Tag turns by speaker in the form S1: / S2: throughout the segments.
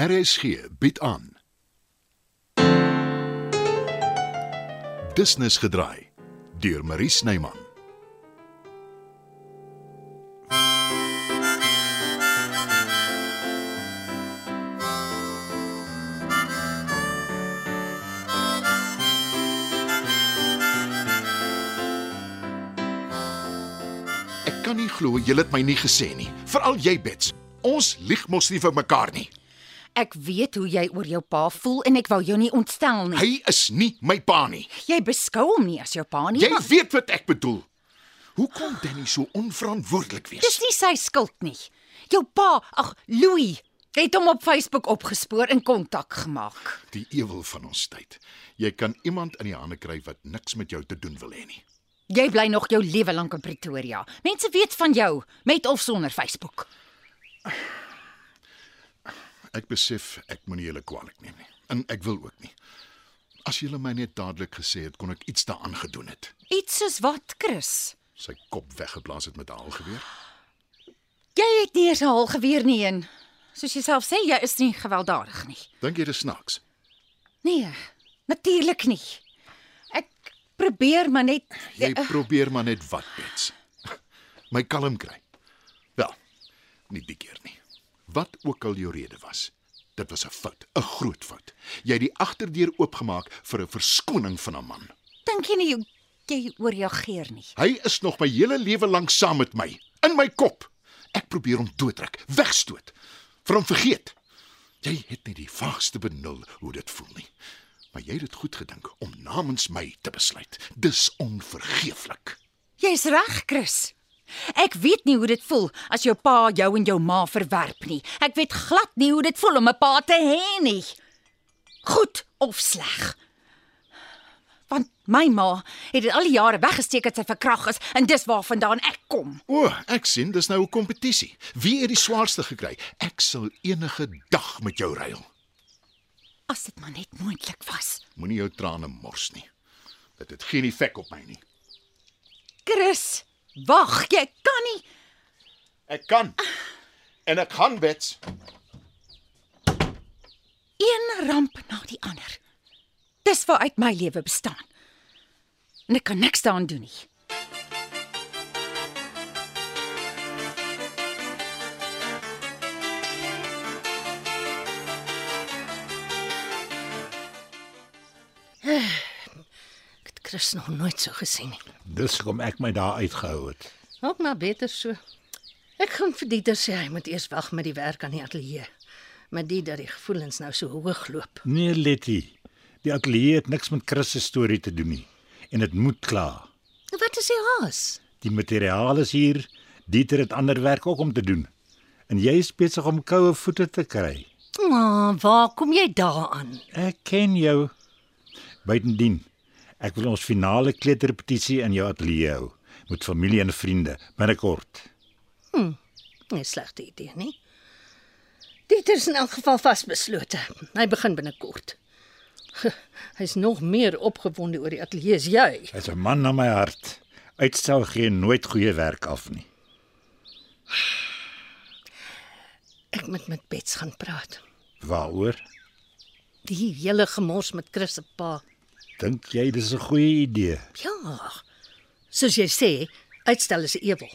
S1: RSG bied aan. Business gedraai deur Marie Snyman. Ek kan nie glo jy het my nie gesê nie. Veral jy Bets. Ons lieg mos nie vir mekaar nie.
S2: Ek weet hoe jy oor jou pa voel en ek wou jou nie ontstel nie.
S1: Hy is nie my pa nie.
S2: Jy beskou hom nie as jou pa nie.
S1: Jy
S2: maar
S1: weet wat ek bedoel. Hoe kon Danny so onverantwoordelik wees?
S2: dis nie sy skuld nie. Jou pa, ag Louis, het hom op Facebook opgespoor en kontak gemaak.
S1: Die ewel van ons tyd. Jy kan iemand in die hande kry wat niks met jou te doen wil hê nie.
S2: Jy bly nog jou lewe lank in Pretoria. Mense weet van jou met of sonder Facebook.
S1: Ek besef ek moenie julle kwaadlik neem nie en ek wil ook nie. As julle my net dadelik gesê het kon ek iets daaraan gedoen het.
S2: Iets soos wat, Chris?
S1: Sy kop weggeblaas het met 'n haalgeweer.
S2: Jy het nie eens 'n hal geweer nie en soos jy self sê, jy is nie gewelddadig nie.
S1: Dink jy dit is snaaks?
S2: Nee, natuurlik nie. Ek probeer maar net
S1: Jy probeer maar net wat, Bets. My kalm kry. Wel, nie die keer nie. Wat ook al jou rede was, dit was 'n fout, 'n groot fout. Jy het die agterdeur oopgemaak vir 'n verskoning van 'n man.
S2: dink jy nie jy, jy oorreageer nie.
S1: Hy is nog my hele lewe lank saam met my, in my kop. Ek probeer hom doodruk, wegstoot, vir hom vergeet. Jy het nie die vaagste benul hoe dit voel nie. Maar jy het dit goed gedink om namens my te besluit. Dis onvergeeflik.
S2: Jy's reg, Chris. Ek weet nie hoe dit voel as jou pa jou en jou ma verwerp nie. Ek weet glad nie hoe dit voel om 'n pa te hê nie. Goed of sleg. Want my ma het dit al die jare weggesteek dat sy verkrag is en dis waarvandaan ek kom.
S1: O, ek sien dis nou 'n kompetisie. Wie het die swaarste gekry? Ek sal enige dag met jou ruil.
S2: As dit maar net moontlik was.
S1: Moenie jou trane mors nie. Dit het geen effek op my nie.
S2: Chris, wag, jy kan nie.
S1: Ek kan. En ek gaan bets.
S2: Een ramp na die ander. Dis waaruit my lewe bestaan. En ek kan niks daaraan doen nie.
S3: Ek het Chris nog nooit so gesien nie.
S4: Dis hoekom ek my daar uitgehou het.
S3: Ook maar beter so. Ek gaan vir Dieter sê hy moet eers wag met die werk aan die ateljee. Maar dit dat die gevoelens nou so hoog loop.
S4: Nee, Letty. Die ateljee het niks met Chris se storie te doen nie en dit moet klaar.
S3: Wat is die haas?
S4: Die materiaal is hier. Dieter het ander werk ook om te doen. En jy is besig om koue voete te kry.
S3: Maar waar kom jy daaraan?
S4: Ek ken jou. Buitendien, ek wil ons finale kleuterrepetisie in jou ateljee hou met familie en vriende binnekort.
S3: Nie 'n slegte idee nie. Dieter is in elk geval vasbeslote. Hy begin binnekort. Hy's nog meer opgewonde oor die ateljee as jy.
S4: Hy's 'n man na my hart. Uitstel gee nooit goeie werk af nie.
S3: Ek moet met Bets gaan praat.
S4: Waaroor?
S3: Die hele gemors met Chris se pa.
S4: Dink jy dis 'n goeie idee?
S3: Ja. Soos jy sê, uitstel is 'n ewel.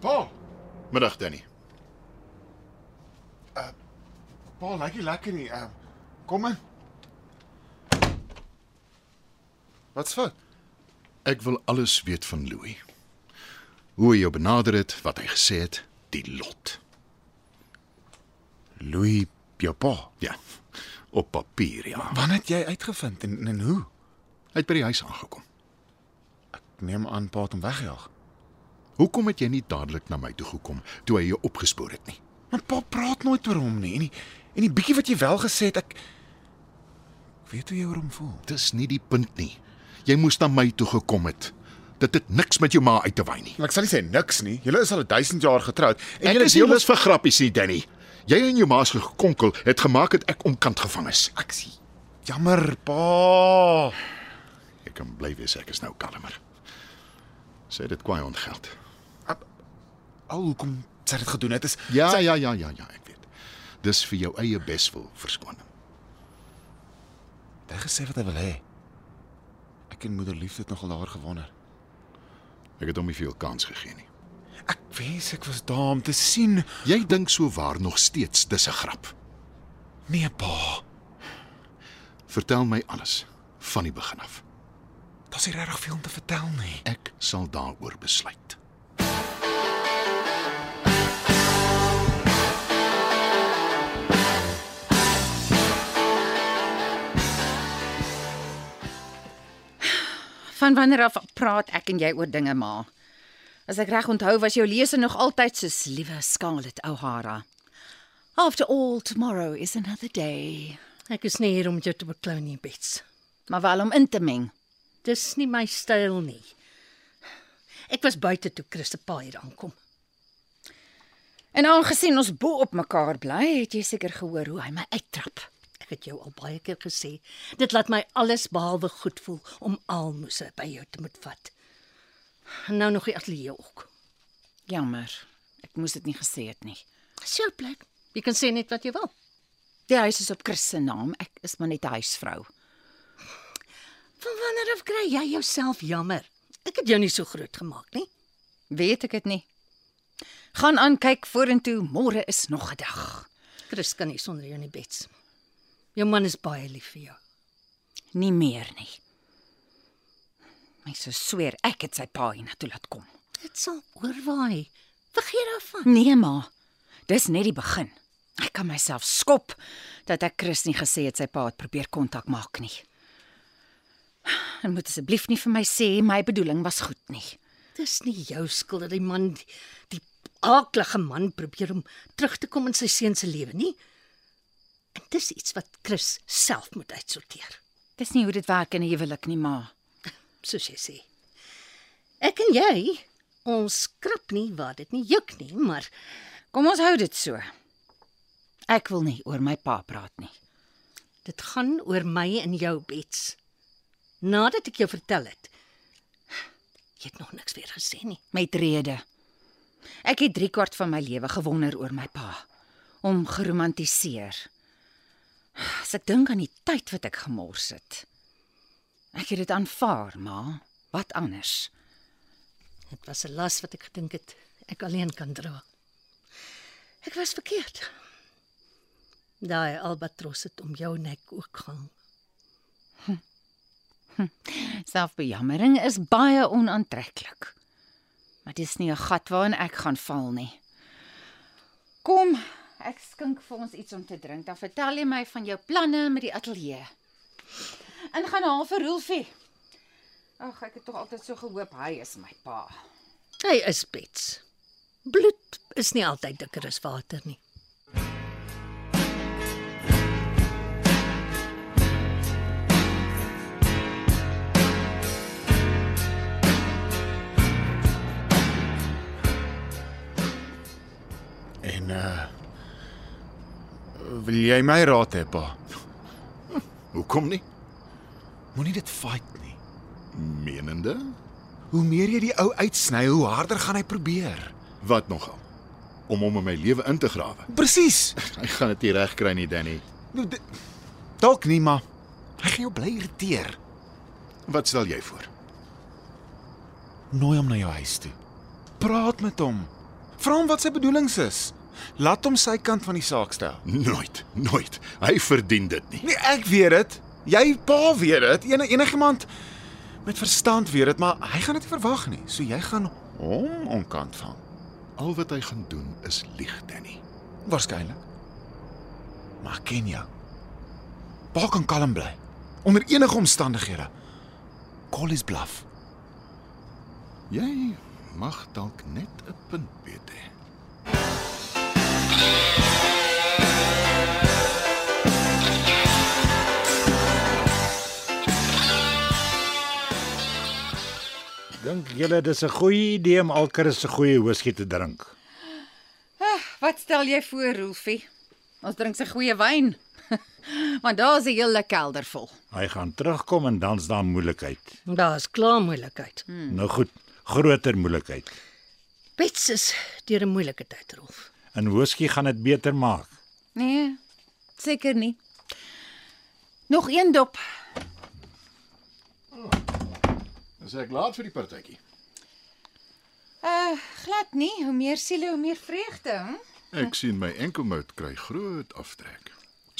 S5: Pa,
S1: Middag Danny.
S5: pa lyk nie lekker nie. Ehm kom in. Wat's fout?
S1: Ek wil alles weet van Louis. Hoe hy jou benader het, wat hy gesê het, die lot.
S5: Louis, jou pa.
S1: Ja. Op papier, ja.
S5: Wanneer het jy uitgevind en en hoe?
S1: Hy het by die huis aangekom.
S5: Ek neem aan pa het hom weggejaag.
S1: Hoekom het jy nie dadelik na my toe gekom toe hy jou opgespoor het nie?
S5: Maar pa praat nooit oor hom nie en die, en die bietjie wat jy wel gesê het, ek ek weet hoe jy oor hom voel.
S1: Dis nie die punt nie. Jy moes na my toe gekom het. Dit het niks met jou ma uit te wy nie.
S5: Ek sal nie sê niks nie. Julle is al 1000 jaar getroud en
S1: Ek
S5: julle
S1: is nie lus vir grappies nie, Danny. Jy en jou ma se gekonkel het gemaak dat ek omkant gevang is.
S5: Ek sien. Jammer, pa.
S1: Ek kan bly wees ek is nou kalmer. Sê dit kwaai ontgeld.
S5: Al hoekom sy dit gedoen het is
S1: Ja,
S5: sy,
S1: ja, ja, ja, ja, ek weet. Dis vir jou eie beswil verskoning.
S5: hy het gesê wat hy wil hê. Ek en moeder liefde het nogal daar gewonder.
S1: Ek het hom nie veel kans gegee nie.
S5: Ek wens ek was daar om te sien.
S1: Jy dink so waar nog steeds dis 'n grap.
S5: Nee, pa.
S1: Vertel my alles van die begin af.
S5: Daar's nie regtig veel om te vertel nie.
S1: Ek sal daaroor besluit.
S2: Van wanneer af praat ek en jy oor dinge, ma? As ek reg onthou, was jou lese nog altyd soos liewe Scarlett O'Hara. After all, tomorrow is another day.
S3: Ek is nie hier om jou te beklou nie, Bets.
S2: Maar wel om in te meng.
S3: Dis nie my styl nie. Ek was buite toe Chris se pa hier aankom.
S2: En aangesien ons bo op mekaar bly, het jy seker gehoor hoe hy my uittrap.
S3: Ek het jou al baie keer gesê, dit laat my alles behalwe goed voel om almoses by jou te moet vat. En nou nog die ateljee ook.
S2: Jammer. Ek moes dit nie gesê het nie.
S3: Dis jou plek. Jy kan sê net wat jy wil.
S2: Die huis is op Chris se naam. Ek is maar net 'n huisvrou.
S3: Van wanneer af kry jy jouself jammer? Ek het jou nie so groot gemaak nie.
S2: Weet ek dit nie. Gaan aan kyk vorentoe, môre is nog 'n dag.
S3: Chris kan nie sonder jou nie, Bets. Jou man is baie lief vir jou.
S2: Nie meer nie. My sou sweer ek het sy pa hiernatoe laat kom.
S3: Dit sal oorwaai. Vergeet daarvan.
S2: Nee ma. Dis net die begin. Ek kan myself skop dat ek Chris nie gesê het sy pa het probeer kontak maak nie. En moet asseblief nie vir my sê my bedoeling was goed nie.
S3: Dis nie jou skuld dat die man die, die aaklige man probeer om terug te kom in sy seun se lewe nie. En dis iets wat Chris self moet uitsorteer,
S2: Dis nie hoe dit werk in 'n huwelik nie, ma.
S3: soos jy sê. Ek en jy, ons skrap nie waar dit nie juk nie, maar
S2: Kom ons hou dit so. Ek wil nie oor my pa praat nie.
S3: dit gaan oor my en jou bets. Nadat ek jou vertel het, jy het nog niks weer gesê nie.
S2: met rede. Ek het 3 kwart van my lewe gewonder oor my pa, hom geromantiseer. As ek dink aan die tyd wat ek gemors het. Ek het dit aanvaar, ma. Wat anders?
S3: Dit was 'n las wat ek gedink het ek alleen kan dra. Ek was verkeerd. Daai albatros het om jou nek ook gehang.
S2: Selfbejammering is baie onaantreklik. Maar dis nie 'n gat waarin ek gaan val nie. Kom, ek skink vir ons iets om te drink. Dan vertel jy my van jou planne met die ateljee. En gaan haal vir Rolfie. Ag, ek het tog altyd so gehoop hy is my pa.
S3: Hy is bets. Bloed is nie altyd dikker as water nie.
S5: En uh wil jy my raad hê, pa?
S1: Hoekom nie?
S5: Moenie dit fight nie.
S1: Menende?
S5: Hoe meer jy die ou uitsny, hoe harder gaan hy probeer.
S1: Wat nogal? Om hom in my lewe in te grawe.
S5: Presies.
S1: Ek gaan dit nie reg kry nie, Danny.
S5: Nou, di- Dalk nie, maar hy gaan jou bly irriteer.
S1: Wat stel jy voor?
S5: Nooi hom na jou huis toe. Praat met hom. Vra hom wat sy bedoelings is. Laat hom sy kant van die saak stel.
S1: Nooit, nooit. Hy verdien dit nie.
S5: Nee, ek weet dit. Jy pa weet dit. Ene enigiemand met verstand weet dit, maar hy gaan dit nie verwag nie. So jy gaan hom onkant vang.
S1: Al wat hy gaan doen is lieg, Danny.
S5: Waarskynlik. Maar ek ken jou. Pa kan kalm bly onder enige omstandighede. Call is bluff.
S1: Jy mag dalk net 'n punt weet hê.
S4: Dink julle dis 'n goeie idee om alker 'n goeie whisky te drink?
S2: Wat stel jy voor, Rolfie? Ons drink se goeie wyn. Want daar's 'n hele kelder vol.
S4: Hy gaan terugkom en dan's daar moeilikheid.
S3: Daar's klaar moeilikheid.
S4: Hmm. Nou goed, groter moeilikheid.
S3: Bets is deur 'n moeilike tyd, Rolf.
S4: En whisky gaan dit beter maak.
S2: Nee, seker nie. Nog een dop.
S1: Is ek laat vir die partytjie?
S2: Uh, glad nie. Hoe meer siele, hoe meer vreugde. Hm?
S1: Ek sien my enkelmout kry groot aftrek.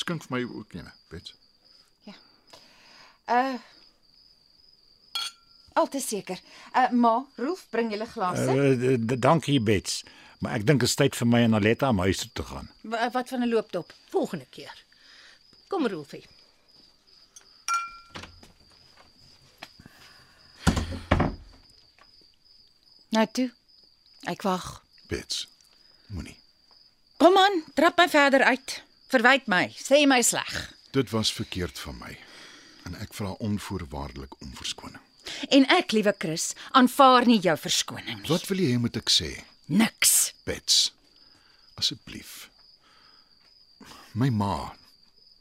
S1: Skink vir my ook eene, Bets.
S2: Uh Al te seker. Uh ma, Rolf, bring julle glase.
S4: Uh, d- d- dankie Bets, maar ek dink dit is tyd vir my en Aletta om huis toe te gaan.
S2: Uh, wat van 'n loopdop?
S3: Volgende keer. Kom Rolfie.
S2: Nou toe. Ek wag.
S1: Bets. Moenie.
S2: Kom aan, trap my verder uit. Verwyd my, sê my sleg.
S1: Dit was verkeerd van my en ek vra onvoorwaardelik om verskoning.
S2: En ek, liewe Chris, aanvaar nie jou verskoning nie.
S1: Wat wil jy hê moet ek sê,
S2: Niks.
S1: Bets? Asseblief. My ma.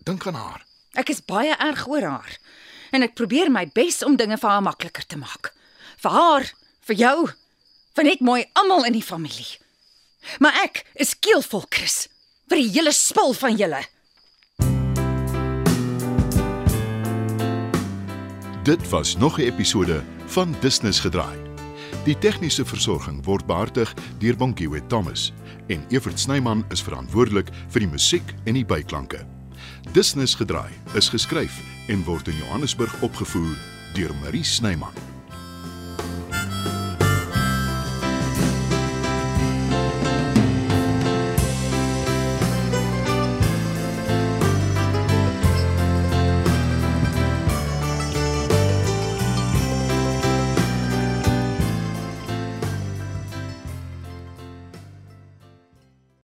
S1: Dink aan haar.
S2: Ek is baie erg oor haar en ek probeer my bes om dinge vir haar makliker te maak. Vir haar, vir jou, vir net mooi almal in die familie. Maar ek is keelvol, Chris, vir die hele spul van julle.
S1: Dit was nog 'n episode van Business Gedraai. Die tegniese versorging word behartig deur Bonnie Witt Thomas en Evert Snyman is verantwoordelik vir die musiek en die byklanke. Business Gedraai is geskryf en word in Johannesburg opgevoer deur Marie Snyman.